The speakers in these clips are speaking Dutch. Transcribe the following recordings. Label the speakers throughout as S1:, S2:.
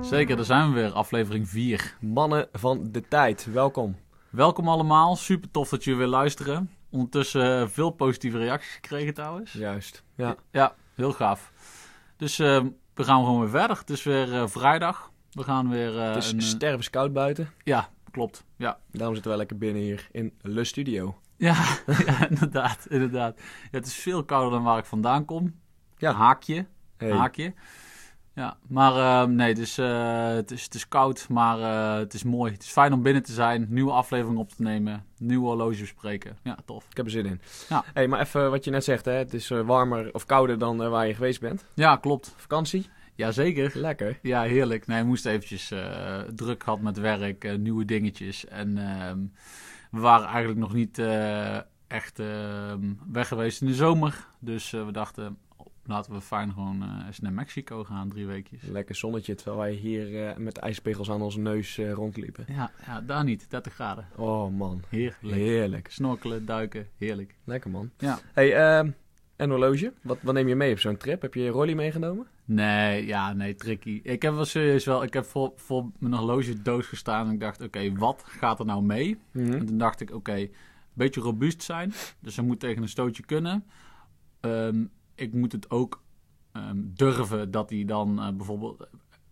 S1: Zeker, daar zijn we weer, aflevering 4.
S2: Mannen van de tijd, welkom.
S1: Welkom allemaal, super tof dat jullie weer luisteren. Ondertussen eh, veel positieve reacties gekregen trouwens.
S2: Juist. Ja.
S1: Ja, heel gaaf. Dus eh, we gaan gewoon weer verder. Het is weer eh, vrijdag. We gaan weer... eh,
S2: Het
S1: een, eh,
S2: is stervenskoud buiten.
S1: ja, klopt. Ja,
S2: Daarom zitten wij lekker binnen hier in Le Studio.
S1: Ja, ja, inderdaad, inderdaad. Ja, het is veel kouder dan waar ik vandaan kom.
S2: Ja.
S1: Haakje,
S2: Hey.
S1: haakje. Ja, maar ehm, nee, dus, eh, het, is, het is koud, maar eh, het is mooi. Het is fijn om binnen te zijn, nieuwe aflevering op te nemen, nieuwe horloge bespreken. Ja, tof.
S2: Ik heb er zin in.
S1: Ja.
S2: Hey, maar even wat je net zegt, hè? het is eh, warmer of kouder dan eh, waar je geweest bent.
S1: Ja, klopt.
S2: Vakantie?
S1: Jazeker.
S2: Lekker.
S1: Ja, heerlijk. Nee, we moesten eventjes eh, druk gehad met werk, eh, nieuwe dingetjes. En ehm, we waren eigenlijk nog niet eh, echt ehm, weg geweest in de zomer. Dus eh, we dachten, oh, laten we fijn gewoon eh, eens naar Mexico gaan, drie weekjes.
S2: Lekker zonnetje, terwijl wij hier eh, met ijspegels aan onze neus eh, rondliepen.
S1: Ja, ja, daar niet, 30 graden.
S2: Oh man,
S1: Heerlijk.
S2: heerlijk.
S1: Snorkelen, duiken, heerlijk.
S2: Lekker man.
S1: Ja.
S2: Hey, ehm, en horloge? Wat, wat neem je mee op zo'n trip? Heb je je rolly meegenomen?
S1: Nee, ja, nee, tricky. Ik heb wel serieus wel, ik heb voor, voor mijn horloge doos gestaan en ik dacht, oké, wat gaat er nou mee? En toen dacht ik, oké, een beetje robuust zijn. Dus ze moet tegen een stootje kunnen. Ehm, ik moet het ook ehm, durven dat hij dan eh, bijvoorbeeld...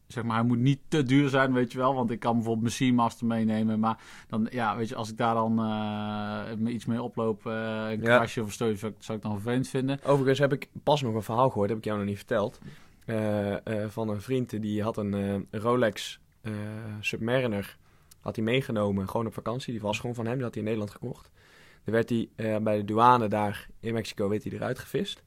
S1: Zeg maar, hij moet niet te duur zijn, weet je wel. Want ik kan bijvoorbeeld mijn Seamaster meenemen. Maar dan, ja, weet je, als ik daar dan eh, me iets mee oploop... eh, een
S2: Ja.
S1: krasje of een stootje, zou ik, zou ik dan vervelend vinden.
S2: Overigens heb ik pas nog een verhaal gehoord, heb ik jou nog niet verteld. Eh, eh, van een vriend die had een eh, Rolex eh, Submariner. Had hij meegenomen, gewoon op vakantie. Die was gewoon van hem, die had hij in Nederland gekocht. Dan werd hij eh, bij de douane daar in Mexico werd hij eruit gevist.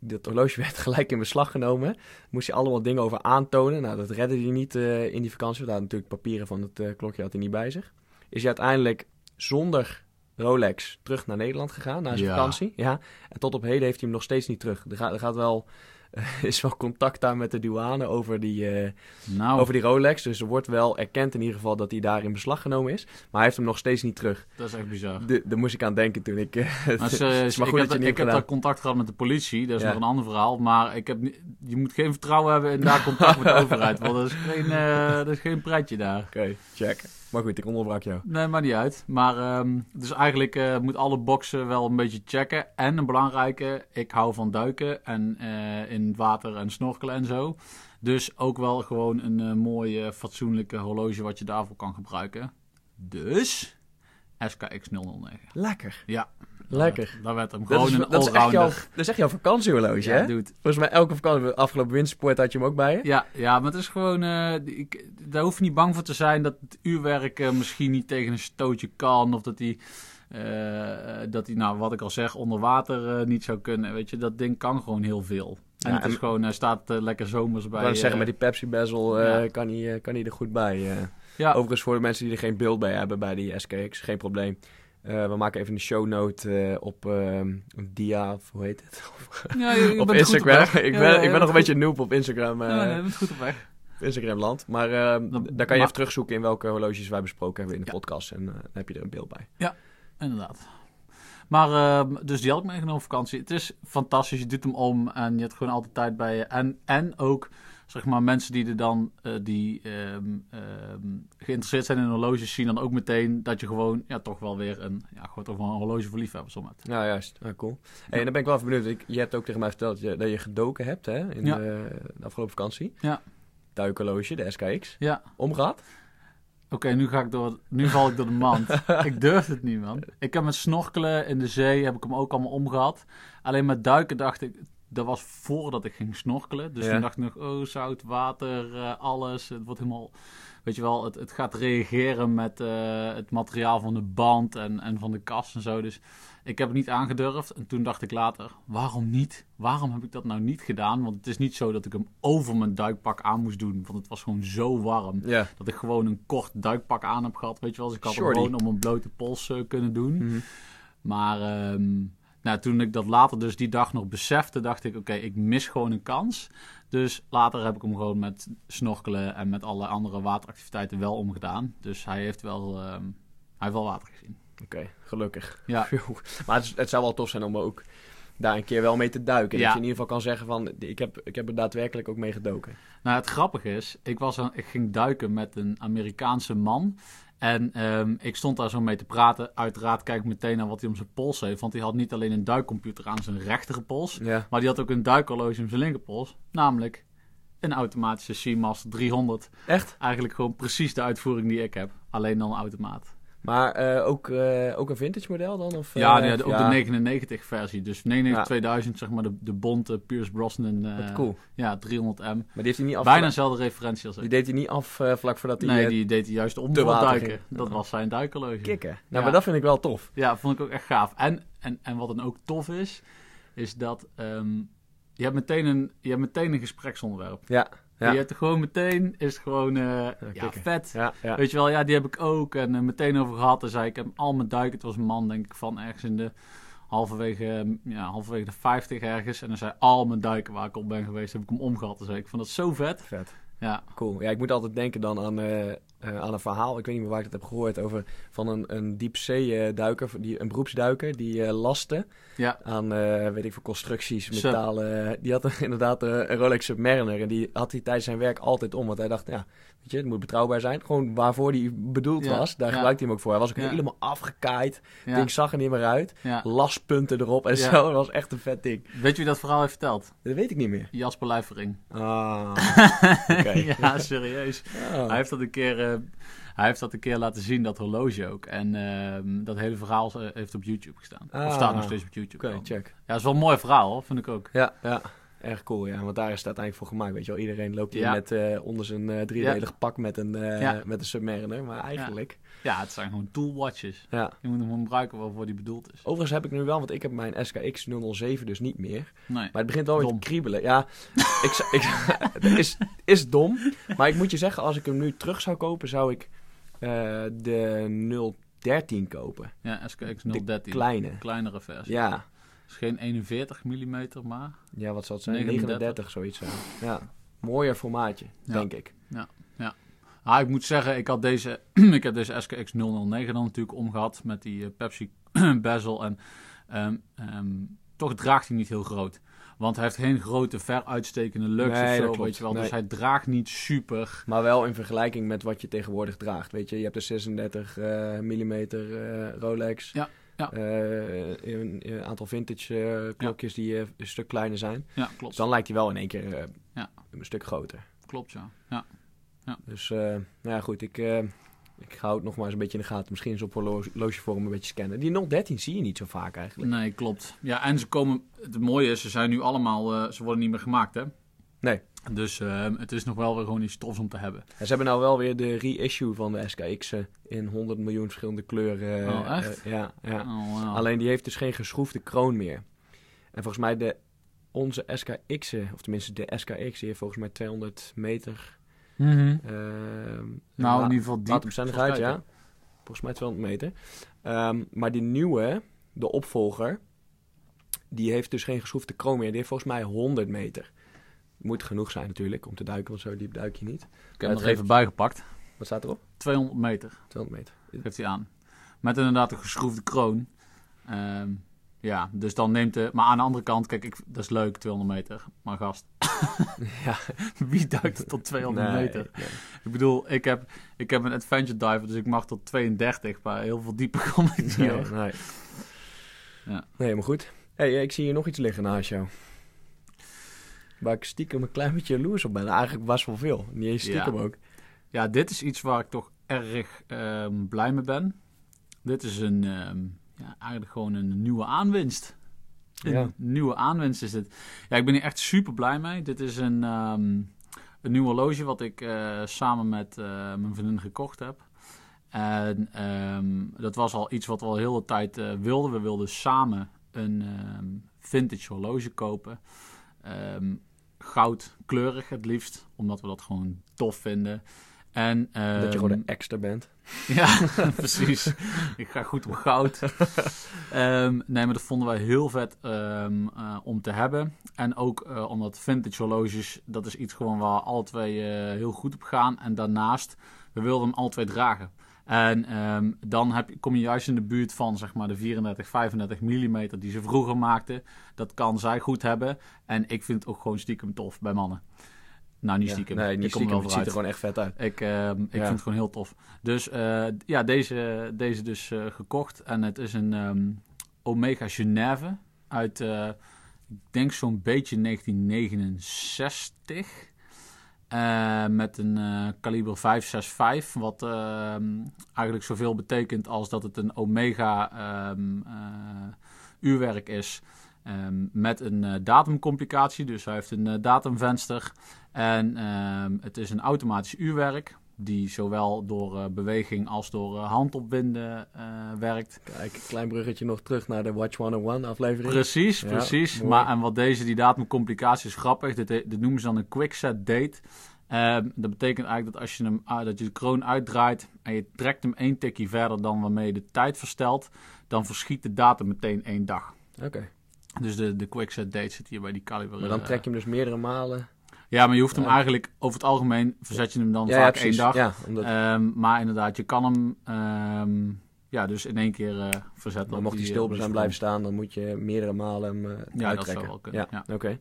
S2: Dat horloge werd gelijk in beslag genomen. Moest hij allemaal dingen over aantonen. Nou, dat redde hij niet eh, in die vakantie. Want hij had natuurlijk papieren van het eh, klokje had hij niet bij zich. Is hij uiteindelijk zonder Rolex terug naar Nederland gegaan, naar zijn
S1: Ja.
S2: vakantie. Ja. En tot op heden heeft hij hem nog steeds niet terug. Er, gaat, er gaat wel, eh, is wel contact daar met de douane over die, eh,
S1: Nou,
S2: over die Rolex. Dus er wordt wel erkend in ieder geval dat hij daar in beslag genomen is. Maar hij heeft hem nog steeds niet terug.
S1: dat is echt bizar.
S2: De, daar moest ik aan denken toen ik... eh,
S1: Oh. Maar
S2: het
S1: serieus,
S2: is maar goed dat
S1: ik heb,
S2: je het niet
S1: ik
S2: hebt
S1: heb
S2: gedaan.
S1: daar contact gehad met de politie, dat is
S2: Ja.
S1: nog een ander verhaal. Maar ik heb, ni- je moet geen vertrouwen hebben in daar contact met de overheid, want dat is geen, eh, dat is geen pretje daar.
S2: Oké, check. Maar goed, ik onderbrak jou.
S1: Nee, maar niet uit. Maar ehm, dus eigenlijk eh, moet alle boxen wel een beetje checken. En een belangrijke, ik hou van duiken en eh, in water en snorkelen en zo. Dus ook wel gewoon een eh, mooie, fatsoenlijke horloge wat je daarvoor kan gebruiken. Dus SKX 009.
S2: Lekker.
S1: Ja.
S2: Lekker.
S1: Daar werd hem
S2: Dat
S1: gewoon
S2: is,
S1: een
S2: dat, is echt jouw,
S1: allrounder.
S2: dat is echt jouw vakantiehorloge,
S1: Ja,
S2: hè?
S1: dude.
S2: Volgens mij elke vakantie, afgelopen wintersport had je hem ook bij je.
S1: Ja, ja, maar het is gewoon. eh, ik, daar hoef je niet bang voor te zijn dat het uurwerk eh, misschien niet tegen een stootje kan. Of dat hij, dat hij, nou wat ik al zeg, onder water eh, niet zou kunnen. Weet je, dat ding kan gewoon heel veel. En
S2: Ja,
S1: het is
S2: en-
S1: gewoon, eh, staat eh, lekker zomers bij.
S2: Ik wou
S1: eh,
S2: zeggen, met die Pepsi Bezel eh,
S1: ja.
S2: kan, hij, eh, kan hij er goed bij. eh.
S1: Ja.
S2: Overigens, voor de mensen die er geen beeld bij hebben bij die SKX, geen probleem. Eh, we maken even een shownote eh, op ehm, een dia, of hoe heet het?
S1: Ja, je- je
S2: op
S1: bent goed
S2: Instagram.
S1: weg.
S2: ik ben,
S1: Ja, ja, je
S2: ik ben nog
S1: bent
S2: een beetje noob op Instagram,
S1: goed-
S2: eh,
S1: Ja, nee, je bent goed op weg.
S2: Instagramland. Maar ehm,
S1: Dan-
S2: daar kan je
S1: maar-
S2: even terugzoeken in welke horloges wij besproken hebben in de
S1: Ja.
S2: podcast. En eh, dan heb je er een beeld bij.
S1: Inderdaad. Maar, ehm, dus die had ik meegenomen op vakantie. Het is fantastisch, je doet hem om en je hebt gewoon altijd tijd bij je. En, en ook, zeg maar, mensen die er dan, eh, die ehm, ehm, geïnteresseerd zijn in horloges, zien dan ook meteen dat je gewoon, ja, toch wel weer een, ja, gewoon toch wel een horloge voor liefhebbers om hebt.
S2: Ja, juist. Ah, cool. Hey, en dan ben ik wel even benieuwd. Ik, je hebt ook tegen mij verteld dat je, dat je gedoken hebt hè, in
S1: Ja.
S2: de, de afgelopen vakantie.
S1: Ja.
S2: Duikhorloge, de SKX.
S1: Ja,
S2: Omgehad?
S1: oké, nu ga ik door, nu val ik door de mand. ik durf het niet, man. Ik heb met snorkelen in de zee, heb ik hem ook allemaal omgehad. Alleen met duiken dacht ik, dat was voordat ik ging snorkelen. Dus
S2: Ja.
S1: toen dacht ik nog, oh, zout, water, eh, alles. Het wordt helemaal, weet je wel, het, het gaat reageren met eh, het materiaal van de band en, en van de kast en zo. Dus ik heb het niet aangedurfd. En toen dacht ik later, waarom niet? Waarom heb ik dat nou niet gedaan? Want het is niet zo dat ik hem over mijn duikpak aan moest doen. Want het was gewoon zo warm
S2: Ja.
S1: dat ik gewoon een kort duikpak aan heb gehad. Weet je wel, dus ik had hem
S2: Shorty. Hm.
S1: gewoon om een blote pols eh, kunnen doen.
S2: Mhm.
S1: Maar ehm, nou, toen ik dat later dus die dag nog besefte, dacht ik, oké, ik mis gewoon een kans. Dus later heb ik hem gewoon met snorkelen en met alle andere wateractiviteiten wel omgedaan. Dus hij heeft wel, ehm, hij heeft wel water gezien.
S2: Oké, gelukkig.
S1: Ja.
S2: Phew. Maar het, is- het zou wel tof zijn om ook daar een keer wel mee te duiken.
S1: Ja.
S2: Dat je in ieder geval kan zeggen van, ik heb, ik heb er daadwerkelijk ook mee gedoken.
S1: Nou, het grappige is, ik, was aan, ik ging duiken met een Amerikaanse man. En ehm, ik stond daar zo mee te praten. Uiteraard kijk ik meteen naar wat hij om zijn pols heeft. Want hij had niet alleen een duikcomputer aan zijn rechterpols.
S2: Ja.
S1: Maar die had ook een duikhorloge om zijn linkerpols. Namelijk een automatische Seamaster 300.
S2: Echt?
S1: Eigenlijk gewoon precies de uitvoering die ik heb. Alleen dan een automaat.
S2: Maar eh, ook, eh, ook een vintage model dan? Of,
S1: ja,
S2: eh,
S1: die had ook de 99 versie. Dus 99 2000, zeg maar de, de bonte Pierce Brosnan. eh,
S2: Wat cool.
S1: Ja, 300M.
S2: Maar die heeft hij niet af...
S1: Bijna dezelfde referentie als ik.
S2: Die deed hij niet af eh, vlak voordat hij...
S1: nee,
S2: eh,
S1: die deed hij juist om
S2: te
S1: voor het
S2: water
S1: duiken.
S2: ging.
S1: Dat
S2: Oh.
S1: was zijn duikhorloge.
S2: Kikken. Nou,
S1: Ja.
S2: maar dat vind ik wel tof.
S1: Ja, vond ik ook echt gaaf. En, en, en wat dan ook tof is, is dat ehm, je, hebt meteen een, je hebt meteen een gespreksonderwerp.
S2: Ja. Ja.
S1: Je hebt er gewoon meteen, is het gewoon eh, ja,
S2: kikken.
S1: vet.
S2: Ja, ja.
S1: Weet je wel, ja, die heb ik ook. En eh, meteen over gehad. Dus zei ik heb al mijn duiken. Het was een man, denk ik, van ergens in de halverwege, eh, ja, halverwege de 50 ergens. En dan zei al mijn duiken waar ik op ben geweest, heb ik hem omgehad. Dus ik vond dat zo vet.
S2: Vet.
S1: Ja,
S2: Cool. Ja, ik moet altijd denken dan aan, eh, eh, aan een verhaal. Ik weet niet meer waar ik dat heb gehoord. Over van een, een diepzee-duiker, die, een beroepsduiker, die eh lastte
S1: ja.
S2: aan, eh, weet ik veel, constructies,
S1: Sub.
S2: metalen. Die had een- inderdaad eh, een Rolex Submariner. En die had hij tijdens zijn werk altijd om. Want hij dacht, ja, weet je, het moet betrouwbaar zijn. Gewoon waarvoor die bedoeld
S1: Ja,
S2: was, daar
S1: ja.
S2: gebruikte hij hem ook voor. Hij was ook
S1: Ja.
S2: helemaal afgekaaid.
S1: ja,
S2: Ding zag er niet meer uit.
S1: ja.
S2: Laspunten erop en
S1: Ja.
S2: zo. Dat was echt een vet ding.
S1: Weet je wie dat verhaal heeft verteld?
S2: Dat weet ik niet meer.
S1: Jasper Luifering.
S2: Ah, oké.
S1: ja, serieus.
S2: Ah.
S1: Hij heeft dat een keer... eh, hij heeft dat een keer laten zien, dat horloge ook. En ehm, dat hele verhaal eh, heeft op YouTube gestaan.
S2: Ah.
S1: Of staat nog steeds op YouTube.
S2: Oké,
S1: dan.
S2: check.
S1: Ja, dat is wel een mooi verhaal, hoor, vind ik ook.
S2: Ja, ja. Erg cool, ja. Want daar is het uiteindelijk voor gemaakt, weet je wel. Iedereen loopt hier
S1: Ja.
S2: met, eh, onder zijn eh, driedelig pak met een, eh,
S1: Ja.
S2: met een Submariner. Maar eigenlijk,
S1: Ja, het zijn gewoon toolwatches.
S2: ja.
S1: Je moet hem gewoon gebruiken waarvoor die bedoeld is.
S2: Overigens heb ik nu wel, want ik heb mijn SKX 007 dus niet meer.
S1: Nee.
S2: Maar het begint wel weer te
S1: Dom.
S2: kriebelen. Ja, ik, z- ik, het is, is dom. Maar ik moet je zeggen, als ik hem nu terug zou kopen, zou ik eh, de 013 kopen.
S1: Ja, SKX
S2: De
S1: 013.
S2: kleine.
S1: Kleinere versie.
S2: Ja.
S1: Is geen 41 mm, maar...
S2: ja, wat zal het zijn? 39,
S1: 39.
S2: zoiets. Zijn. Ja, mooier formaatje,
S1: Ja.
S2: denk ik.
S1: Ah, ik moet zeggen, ik, had deze, ik heb deze SKX 009 dan natuurlijk omgehad met die eh, Pepsi bezel. En ehm, ehm, toch draagt hij niet heel groot. Want hij heeft geen grote, veruitstekende lux
S2: Nee,
S1: of
S2: dat
S1: zo,
S2: klopt.
S1: weet je wel.
S2: Nee.
S1: Dus hij draagt niet super.
S2: Maar wel in vergelijking met wat je tegenwoordig draagt. Weet je, je hebt een 36 mm Rolex.
S1: Ja, ja.
S2: Eh, een, een aantal vintage eh, klokjes die eh, een stuk kleiner zijn.
S1: Ja,
S2: Dus
S1: klopt.
S2: dan lijkt hij wel in één keer eh,
S1: Ja.
S2: een stuk groter.
S1: Klopt, ja. ja.
S2: Dus eh, nou ja, goed, ik, eh, ik hou het nog maar eens een beetje in de gaten. Misschien eens op horlo- horlogevorm een beetje scannen. Die 013 zie je niet zo vaak eigenlijk.
S1: Nee, klopt. Ja, en ze komen... Het mooie is, ze zijn nu allemaal... eh, ze worden niet meer gemaakt, hè?
S2: Nee.
S1: Dus ehm, het is nog wel weer gewoon iets tofs om te hebben.
S2: En ze hebben nou wel weer de reissue van de SKX en eh, in 100 miljoen verschillende kleuren. eh,
S1: Oh, echt?
S2: eh, ja, ja.
S1: Oh, wow.
S2: Alleen die heeft dus geen geschroefde kroon meer. En volgens mij de, onze SKX'en, of tenminste de SKX, die heeft volgens mij 200 meter.
S1: Mhm.
S2: ehm,
S1: Nou,
S2: la-
S1: in ieder geval diep.
S2: laadopstandigheid,
S1: Volgens
S2: ja. Volgens mij 200 meter. Ehm, maar die nieuwe, de opvolger, die heeft dus geen geschroefde kroon meer. Die heeft volgens mij 100 meter. Moet genoeg zijn natuurlijk om te duiken, want zo diep duik je niet. Ja,
S1: Ik heb
S2: het
S1: hem er
S2: geeft-
S1: even bijgepakt.
S2: Wat staat erop?
S1: 200 meter
S2: 200 meter.
S1: heeft hij aan. Met inderdaad een geschroefde kroon. Ehm, ja, dus dan neemt de... Maar aan de andere kant, kijk, ik, dat is leuk, 200 meter. Maar gast,
S2: Ja,
S1: wie duikt er tot 200
S2: nee,
S1: meter?
S2: nee.
S1: Ik bedoel, ik heb, ik heb een adventure diver, dus ik mag tot 32. Maar heel veel dieper kom ik niet,
S2: Nee,
S1: hoor.
S2: nee.
S1: Ja.
S2: Nee, maar goed. hey, eh, ik zie hier nog iets liggen naast jou. Waar ik stiekem een klein beetje jaloers op ben. Eigenlijk was wel veel. Niet eens stiekem
S1: Ja.
S2: ook.
S1: Ja, dit is iets waar ik toch erg ehm, blij mee ben. Dit is een, ehm, ja, eigenlijk gewoon een nieuwe aanwinst. Een
S2: Ja.
S1: nieuwe aanwinst is dit. Ja, ik ben hier echt super blij mee. Dit is een, ehm, een nieuw horloge wat ik eh, samen met eh, mijn vriendin gekocht heb. En ehm, dat was al iets wat we al heel de tijd eh, wilden. We wilden samen een ehm, vintage horloge kopen. Ehm goudkleurig het liefst, omdat we dat gewoon tof vinden. En,
S2: dat je
S1: ehm,
S2: gewoon een extra bent.
S1: ja, precies. Ik ga goed op goud. Ehm, nee, maar dat vonden wij heel vet ehm, eh, om te hebben. En ook eh, omdat vintage horloges, dat is iets gewoon waar we alle twee eh, heel goed op gaan. En daarnaast, we wilden hem alle twee dragen. En ehm, dan heb, je- kom je juist in de buurt van zeg maar, de 34, 35 mm die ze vroeger maakten. Dat kan zij goed hebben. En ik vind het ook gewoon stiekem tof bij mannen. Nou, niet
S2: Ja,
S1: stiekem.
S2: Nee, niet
S1: ik kom er
S2: stiekem.
S1: wel
S2: Het ziet
S1: vooruit.
S2: er gewoon echt vet uit.
S1: Ik, ehm, ik
S2: Ja.
S1: vind het gewoon heel tof. Dus eh, ja, deze, deze dus eh, gekocht. En het is een ehm, Omega Geneve uit, eh, ik denk zo'n beetje 1969. Eh, met een eh, kaliber 565, wat ehm, eigenlijk zoveel betekent als dat het een Omega ehm, eh, uurwerk is. ehm, met een eh, datumcomplicatie, dus hij heeft een eh, datumvenster. En ehm, het is een automatisch uurwerk, die zowel door eh, beweging als door eh, handopwinden eh, werkt.
S2: Kijk, een klein bruggetje nog terug naar de Watch 101 aflevering.
S1: Precies,
S2: Ja,
S1: precies.
S2: mooi.
S1: maar en wat deze, die datumcomplicatie is grappig. Dit, eh, dit noemen ze dan een quickset date. Ehm, dat betekent eigenlijk dat als je hem ah, dat je de kroon uitdraait en je trekt hem één tikje verder dan waarmee je de tijd verstelt, dan verschiet de datum meteen één dag.
S2: Oké.
S1: Dus de, de quickset date zit hier bij die kaliber.
S2: Maar dan
S1: eh,
S2: trek je hem dus meerdere malen.
S1: Ja, maar je hoeft hem
S2: Ja.
S1: eigenlijk over het algemeen verzet je hem dan
S2: ja, ja,
S1: vaak één
S2: precies.
S1: dag.
S2: Ja, omdat...
S1: Ehm, maar inderdaad, je kan hem ehm, ja, dus in één keer eh, verzetten.
S2: Maar
S1: op
S2: mocht hij
S1: die,
S2: stil
S1: op die
S2: zijn
S1: sprong.
S2: blijven staan, dan moet je meerdere malen hem eh,
S1: dat
S2: uittrekken.
S1: zou wel kunnen, ja.
S2: oké.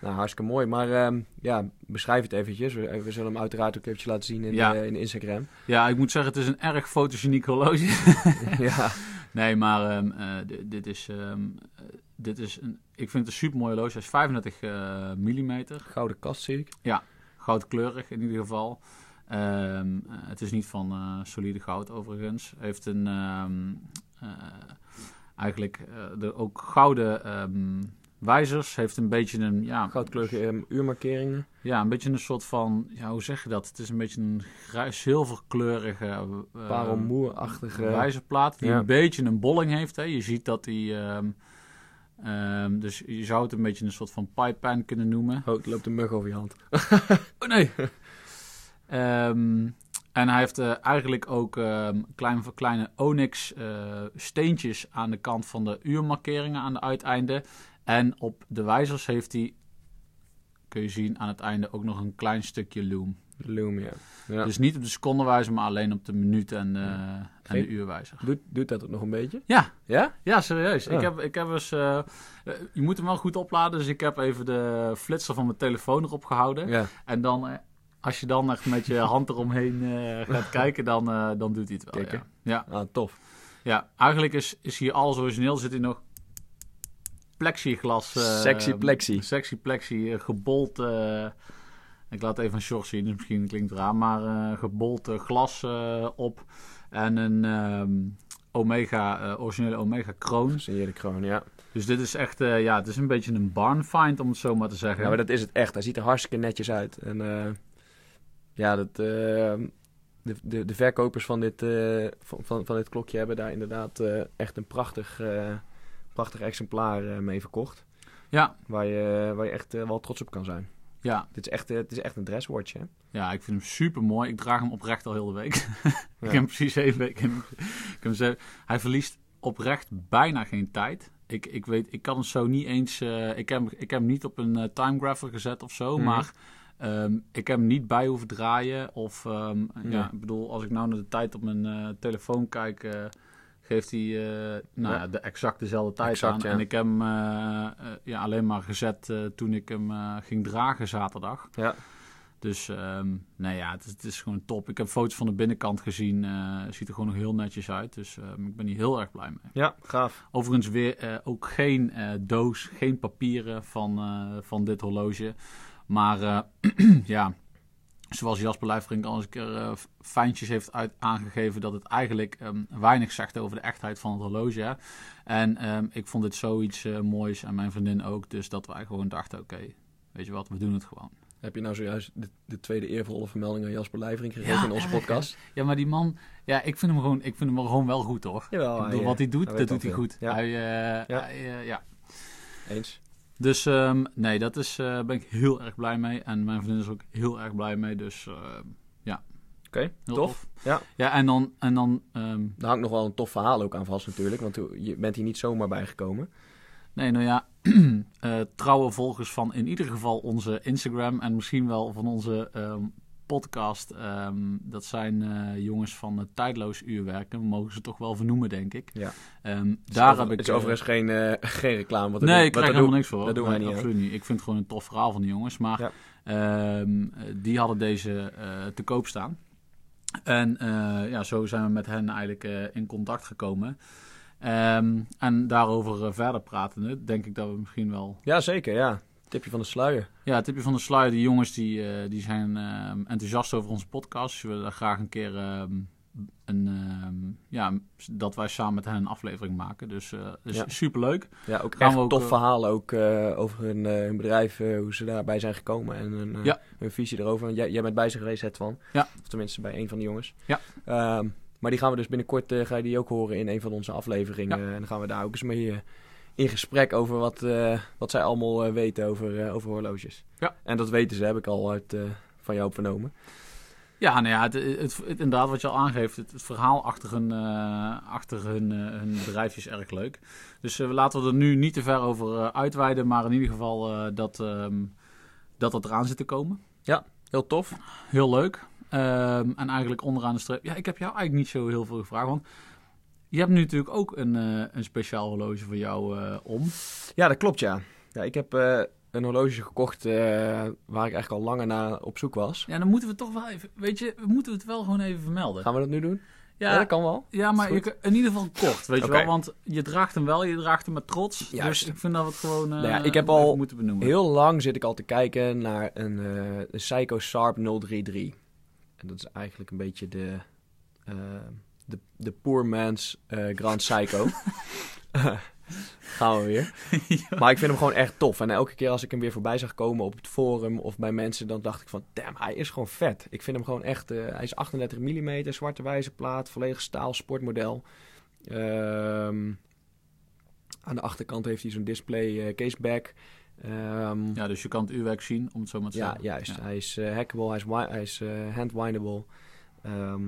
S2: Nou, hartstikke mooi. Maar ehm, ja, beschrijf het eventjes. We, we zullen hem uiteraard ook eventjes laten zien in,
S1: Ja.
S2: eh, in Instagram.
S1: Ja, ik moet zeggen, het is een erg fotogeniek horloge.
S2: ja.
S1: Nee, maar ehm, eh, di- dit is, ehm, eh, dit is een, ik vind het een super mooi horloge. Hij is 35 eh, millimeter,
S2: Gouden kast zie ik.
S1: goudkleurig in ieder geval. Ehm, eh, het is niet van eh, solide goud overigens. Hij heeft een ehm, eh, eigenlijk eh, de, ook gouden ehm, wijzers. Heeft een beetje een ja,
S2: Goudkleurige ehm, uurmarkeringen.
S1: Ja, een beetje een soort van, ja, hoe zeg je dat? Het is een beetje een grijs, zilverkleurige eh,
S2: Parelmoerachtige.
S1: wijzerplaat die
S2: Ja.
S1: een beetje een bolling heeft. Hè. Je ziet dat die, ehm, ehm, dus je zou het een beetje een soort van pipepan kunnen noemen.
S2: Oh, het loopt een mug over je hand.
S1: Oh nee! Ehm, en hij heeft eh, eigenlijk ook ehm klein voor kleine onyx eh, steentjes aan de kant van de uurmarkeringen aan de uiteinden. En op de wijzers heeft hij, kun je zien aan het einde, ook nog een klein stukje loom.
S2: Loom, ja. ja.
S1: Dus niet op de secondenwijzer, maar alleen op de minuut en, eh, en de
S2: Geen-
S1: uurwijzer.
S2: Doet, doet dat het nog een beetje?
S1: Ja.
S2: Ja?
S1: Ja, serieus.
S2: Ja.
S1: Ik heb, ik heb eens, eh, eh, je moet hem wel goed opladen, dus ik heb even de flitser van mijn telefoon erop gehouden.
S2: Ja.
S1: En dan, eh, als je dan echt met je hand eromheen eh, gaat kijken, dan, eh, dan doet hij het wel.
S2: Kijk,
S1: Ja. Ja.
S2: Ah, tof.
S1: ja, eigenlijk is, is hier alles origineel. Zit hier nog plexiglas. eh,
S2: Sexy plexi.
S1: Sexy plexi, eh, gebold. eh, ik laat even een short zien, dus misschien klinkt het raar, maar eh, gebold eh, glas eh, op. En een ehm, Omega, eh, originele Omega kroon.
S2: Signeerde kroon, ja.
S1: Dus dit is echt, eh, ja, het is een beetje een barn find, om het zo maar te zeggen.
S2: Ja, maar dat is het echt. Hij ziet er hartstikke netjes uit. En eh, ja, dat, eh, de, de, de verkopers van dit, eh, van, van, van dit klokje hebben daar inderdaad eh, echt een prachtig, eh, prachtig exemplaar eh, mee verkocht.
S1: Ja.
S2: Waar je, waar je echt eh, wel trots op kan zijn.
S1: ja,
S2: Dit is echt, eh, het is echt een dresswatch, hè?
S1: ja, ik vind hem super mooi. Ik draag hem oprecht al heel de week.
S2: Ja.
S1: ik heb hem precies één week. Ik heb hem- ik heb hem zeven- hij verliest oprecht bijna geen tijd. Ik, ik weet, ik kan hem zo niet eens. eh, ik, heb, hem- ik heb hem niet op een eh, time grapher gezet of zo,
S2: Mhm.
S1: maar. ehm, ik heb hem niet bij hoeven draaien. Of ehm, ja,
S2: Ja.
S1: ik bedoel, als ik nou naar de tijd op mijn eh, telefoon kijk, eh, geeft hij eh, nou,
S2: Ja.
S1: ja, de exact dezelfde tijd
S2: Exact,
S1: aan.
S2: ja.
S1: En ik heb hem eh, eh, ja, alleen maar gezet eh, toen ik hem eh, ging dragen zaterdag.
S2: Ja.
S1: Dus ehm nou ja, het, is- het is gewoon top. Ik heb foto's van de binnenkant gezien. eh ziet er gewoon nog heel netjes uit. Dus ehm, ik ben hier heel erg blij mee.
S2: Ja, gaaf.
S1: Overigens weer eh, ook geen eh, doos, geen papieren van, eh, van dit horloge. Maar eh, ja, zoals Jasper Lijfrink al eens een keer eh, fijntjes heeft uit, aangegeven... dat het eigenlijk ehm, weinig zegt over de echtheid van het horloge. hè. En ehm, ik vond dit zoiets eh, moois en mijn vriendin ook. Dus dat wij gewoon dachten, oké, weet je wat, we doen het gewoon.
S2: Heb je nou zojuist de, de tweede eervolle vermelding aan Jasper Lijvering gegeven
S1: Ja,
S2: in onze
S1: erg, hè?
S2: podcast?
S1: Ja, maar die man, ja, ik vind hem gewoon, ik vind hem gewoon wel goed hoor.
S2: Jawel,
S1: ik bedoel,
S2: hij, eh,
S1: wat hij doet,
S2: Oh, hij weet
S1: dat doet hij
S2: wel
S1: goed.
S2: veel. Ja.
S1: Hij, eh,
S2: Ja.
S1: hij, eh, ja.
S2: eh, Eens.
S1: Dus ehm, nee, daar is eh, ben ik heel erg blij mee. En mijn vriendin is ook heel erg blij mee. Dus ehm, ja,
S2: Oké,
S1: heel
S2: tof.
S1: tof.
S2: Ja.
S1: ja en dan, en dan ehm,
S2: Daar hangt nog wel een tof verhaal ook aan vast natuurlijk, want je bent hier niet zomaar bijgekomen.
S1: nee, nou ja, eh, trouwe volgers van in ieder geval onze Instagram. En misschien wel van onze ehm, podcast. Ehm, dat zijn eh, jongens van het Tijdloos Uurwerken. We mogen ze toch wel vernoemen, denk ik.
S2: Ja.
S1: Ehm,
S2: Het is
S1: daar
S2: over-
S1: heb ik...
S2: Het Dus is overigens geen, eh, geen reclame. Wat
S1: nee, ik
S2: wat
S1: krijg helemaal niks voor.
S2: dat doen wij
S1: Nee,
S2: niet, hè?
S1: Absoluut niet. Ik vind het gewoon een tof verhaal van die jongens. Maar
S2: Ja.
S1: ehm, eh, die hadden deze eh, te koop staan. En eh, ja, zo zijn we met hen eigenlijk eh, in contact gekomen. Ehm, en daarover eh, verder pratende, denk ik dat we misschien wel
S2: Ja, zeker, ja. Tipje van de sluier.
S1: ja, het tipje van de sluier. Die jongens die, eh, die zijn ehm, enthousiast over onze podcast. Ze willen daar graag een keer ehm, een, ehm, ja, dat wij samen met hen een aflevering maken. Dus eh dat is
S2: Ja.
S1: superleuk.
S2: Ja, ook
S1: Gaan
S2: echt
S1: we ook,
S2: tof
S1: eh,
S2: verhaal ook eh, over hun, eh, hun bedrijf, eh, hoe ze daarbij zijn gekomen en hun, eh,
S1: Ja.
S2: hun visie erover. Want Jij, jij bent bij ze geweest, het van.
S1: Ja.
S2: Of tenminste bij een van de jongens.
S1: Ja.
S2: Ehm, maar die gaan we dus binnenkort eh, ga je die ook horen in een van onze afleveringen. en dan gaan we daar ook eens mee eh, in gesprek over wat, eh, wat zij allemaal eh, weten over, eh, over horloges.
S1: Ja.
S2: En dat weten ze, heb ik al uit, eh, van jou vernomen.
S1: Ja, nou ja, het, het, het- inderdaad wat je al aangeeft. Het, het verhaal achter hun, eh, achter hun, eh, hun bedrijfje is erg leuk. Dus eh, laten we er nu niet te ver over eh, uitweiden. Maar in ieder geval eh, dat, ehm, dat dat eraan zit te komen.
S2: Heel tof.
S1: Heel leuk. Ehm, en eigenlijk onderaan de streep. Ja, ik heb jou eigenlijk niet zo heel veel gevraagd. Want je hebt nu natuurlijk ook een, eh, een speciaal horloge voor jou eh, om.
S2: Ja, dat klopt, ja. ja ik heb eh, een horloge gekocht eh, waar ik eigenlijk al langer naar op zoek was.
S1: Ja, dan moeten we toch wel even. Weet je, we moeten het wel gewoon even vermelden.
S2: Gaan we dat nu doen? Ja,
S1: ja,
S2: dat kan wel.
S1: ja, maar
S2: is
S1: je,
S2: goed.
S1: kan- in ieder geval kort. Weet
S2: Oké.
S1: je wel, want je draagt hem wel, je draagt hem met trots.
S2: Juist.
S1: Dus ik vind dat we het gewoon. eh,
S2: Nou ja, ik heb
S1: even
S2: al
S1: moeten benoemen.
S2: Heel lang zit ik al te kijken naar een, eh, een Psycho Sharp 033. En dat is eigenlijk een beetje de, eh, de, de poor man's eh, Grand Psycho. Gaan we weer. Maar ik vind hem gewoon echt tof. En elke keer als ik hem weer voorbij zag komen op het forum of bij mensen, dan dacht ik van, damn, hij is gewoon vet. Ik vind hem gewoon echt, eh, hij is 38 mm, zwarte wijzerplaat, volledig staal, sportmodel. Ehm, aan de achterkant heeft hij zo'n display eh, caseback. Ehm,
S1: Ja, dus je kan het uurwerk zien, om het zo maar te
S2: ja,
S1: zeggen.
S2: juist.
S1: Ja.
S2: Hij is eh, hackable, hij is, wi- hij is eh, handwindable. Ehm,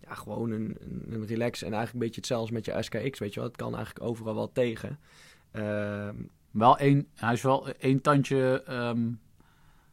S2: ja, gewoon een, een, een relax en eigenlijk een beetje hetzelfde als met je SKX, weet je wel. Het kan eigenlijk overal wel tegen. Ehm
S1: Wel één, hij is wel één tandje ehm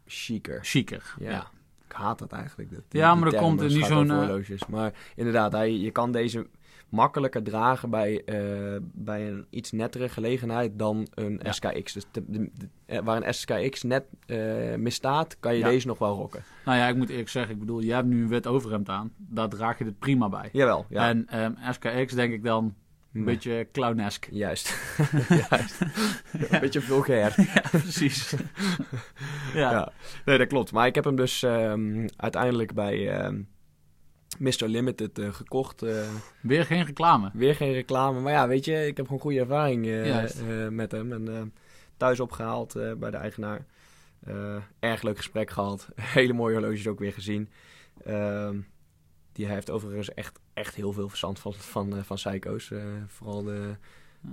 S2: chiquer.
S1: chiquer.
S2: Ja.
S1: ja.
S2: Ik haat dat eigenlijk. Dat,
S1: Ja, maar dat
S2: term,
S1: komt er
S2: het
S1: niet
S2: gaat
S1: zo'n,
S2: over
S1: eh,
S2: horloges. Maar inderdaad, hij, je kan deze makkelijker dragen bij, eh, bij een iets nettere gelegenheid dan een
S1: Ja.
S2: SKX. Dus de- de- de- eh, waar een SKX net eh, misstaat, kan je
S1: Ja.
S2: deze nog wel rocken.
S1: Nou ja, ik moet eerlijk zeggen, ik bedoel, jij hebt nu een wit overhemd aan. Daar draag je dit prima bij.
S2: Jawel, ja.
S1: En ehm, SKX denk ik dan een
S2: Nee.
S1: beetje clownesk.
S2: Juist. Juist. Een beetje vulgair.
S1: ja, precies. ja.
S2: Ja. Nee, dat klopt. Maar ik heb hem dus ehm, uiteindelijk bij ehm Mr. Limited eh, gekocht. Eh,
S1: weer geen reclame.
S2: weer geen reclame. Maar ja, weet je, ik heb gewoon goede ervaring eh,
S1: Juist.
S2: eh, met hem. En eh, thuis opgehaald eh, bij de eigenaar. Eh, erg leuk gesprek gehad. Hele mooie horloges ook weer gezien. Ehm, die hij heeft overigens echt, echt heel veel verstand van, van, eh, van Psycho's. Eh, vooral de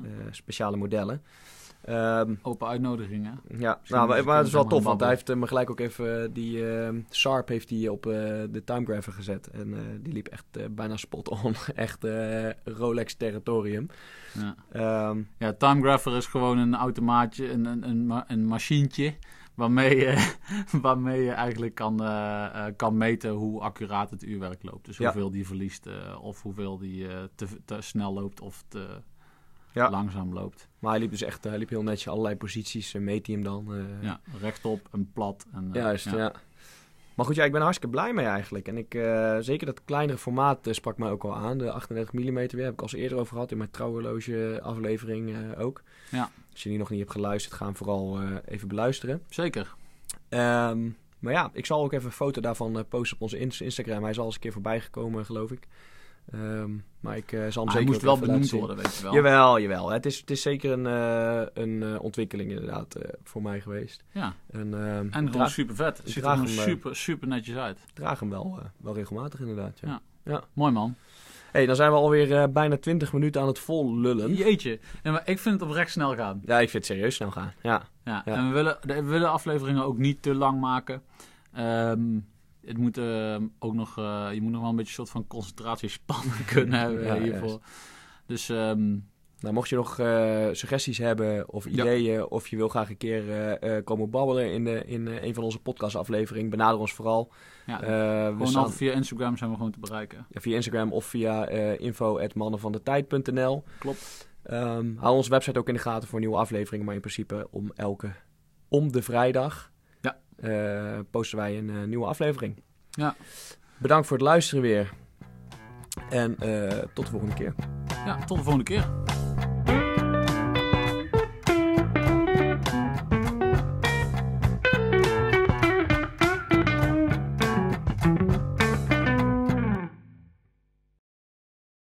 S2: eh, speciale modellen. Ehm,
S1: Open uitnodigingen.
S2: Ja,
S1: Misschien
S2: nou,
S1: moet
S2: maar,
S1: ik
S2: maar het
S1: hem
S2: is wel
S1: gaan
S2: tof, want hij
S1: babbelen.
S2: heeft eh, me gelijk ook even eh, die ehm, Sharp heeft hij op eh, de timegrapher gezet. En eh, die liep echt eh, bijna spot on. echt eh, Rolex territorium.
S1: Ja.
S2: Ehm,
S1: Ja, Timegrapher is gewoon een automaatje, een, een, een, ma- een machientje. Waarmee je, waarmee je eigenlijk kan, eh, eh, kan meten hoe accuraat het uurwerk loopt. Dus
S2: Ja.
S1: hoeveel die verliest eh, of hoeveel die eh, te, te snel loopt of te
S2: Ja.
S1: langzaam loopt.
S2: maar hij liep dus echt, eh, hij liep heel netjes allerlei posities, eh, meet hij hem dan. eh,
S1: Ja, rechtop en plat. En, eh,
S2: Juist, ja.
S1: ja.
S2: Maar goed, ja, ik ben er hartstikke blij mee eigenlijk. En ik, eh, zeker dat kleinere formaat eh, sprak mij ook al aan. De 38 mm weer heb ik al eens eerder over gehad in mijn trouwhorloge aflevering eh, ook.
S1: Ja.
S2: Als je die nog niet hebt geluisterd, ga hem vooral eh, even beluisteren.
S1: Zeker.
S2: Ehm, maar ja, ik zal ook even een foto daarvan eh, posten op onze ins- Instagram. Hij is al eens een keer voorbij gekomen, geloof ik. Ehm, maar ik eh, zal hem
S1: Maar
S2: zeker
S1: hij moest
S2: ook
S1: wel
S2: even
S1: benoemd
S2: laten zien.
S1: worden, weet je wel.
S2: Jawel, jawel. Het is, het is zeker een, eh, een eh, ontwikkeling inderdaad eh, voor mij geweest.
S1: Ja.
S2: En, ehm, ik
S1: En gewoon
S2: draag,
S1: super vet. Het ziet er
S2: draag
S1: gewoon
S2: hem, eh,
S1: super, super netjes uit.
S2: draag hem wel, eh, wel regelmatig inderdaad. Ja.
S1: Ja. Mooi man.
S2: hey, dan zijn we alweer eh, bijna 20 minuten aan het vol lullen.
S1: Jeetje. Nee, maar ik vind het oprecht snel gaan.
S2: Ja, ik vind het serieus snel gaan. Ja,
S1: Ja.
S2: Ja.
S1: En we willen, de- we willen afleveringen ook niet te lang maken. Ehm, het moet ehm, ook nog, eh, je moet nog wel een beetje een soort van concentratiespannen kunnen hebben
S2: Ja,
S1: hiervoor. Dus ehm,
S2: Nou, mocht je nog eh, suggesties hebben of ideeën, of je wil graag een keer eh, eh, komen babbelen in, de, in eh, een van onze podcastafleveringen, benader ons vooral.
S1: Ja,
S2: Eh, we
S1: Gewoon
S2: staan
S1: al via Instagram zijn we gewoon te bereiken.
S2: via Instagram of via eh info.mannenvandetijd.nl.
S1: Klopt.
S2: Ehm hou onze website ook in de gaten voor nieuwe afleveringen, maar in principe om elke, om de vrijdag
S1: Ja.
S2: eh, posten wij een eh, nieuwe aflevering.
S1: Ja.
S2: Bedankt voor het luisteren weer en eh, tot de volgende keer.
S1: Ja, tot de volgende keer.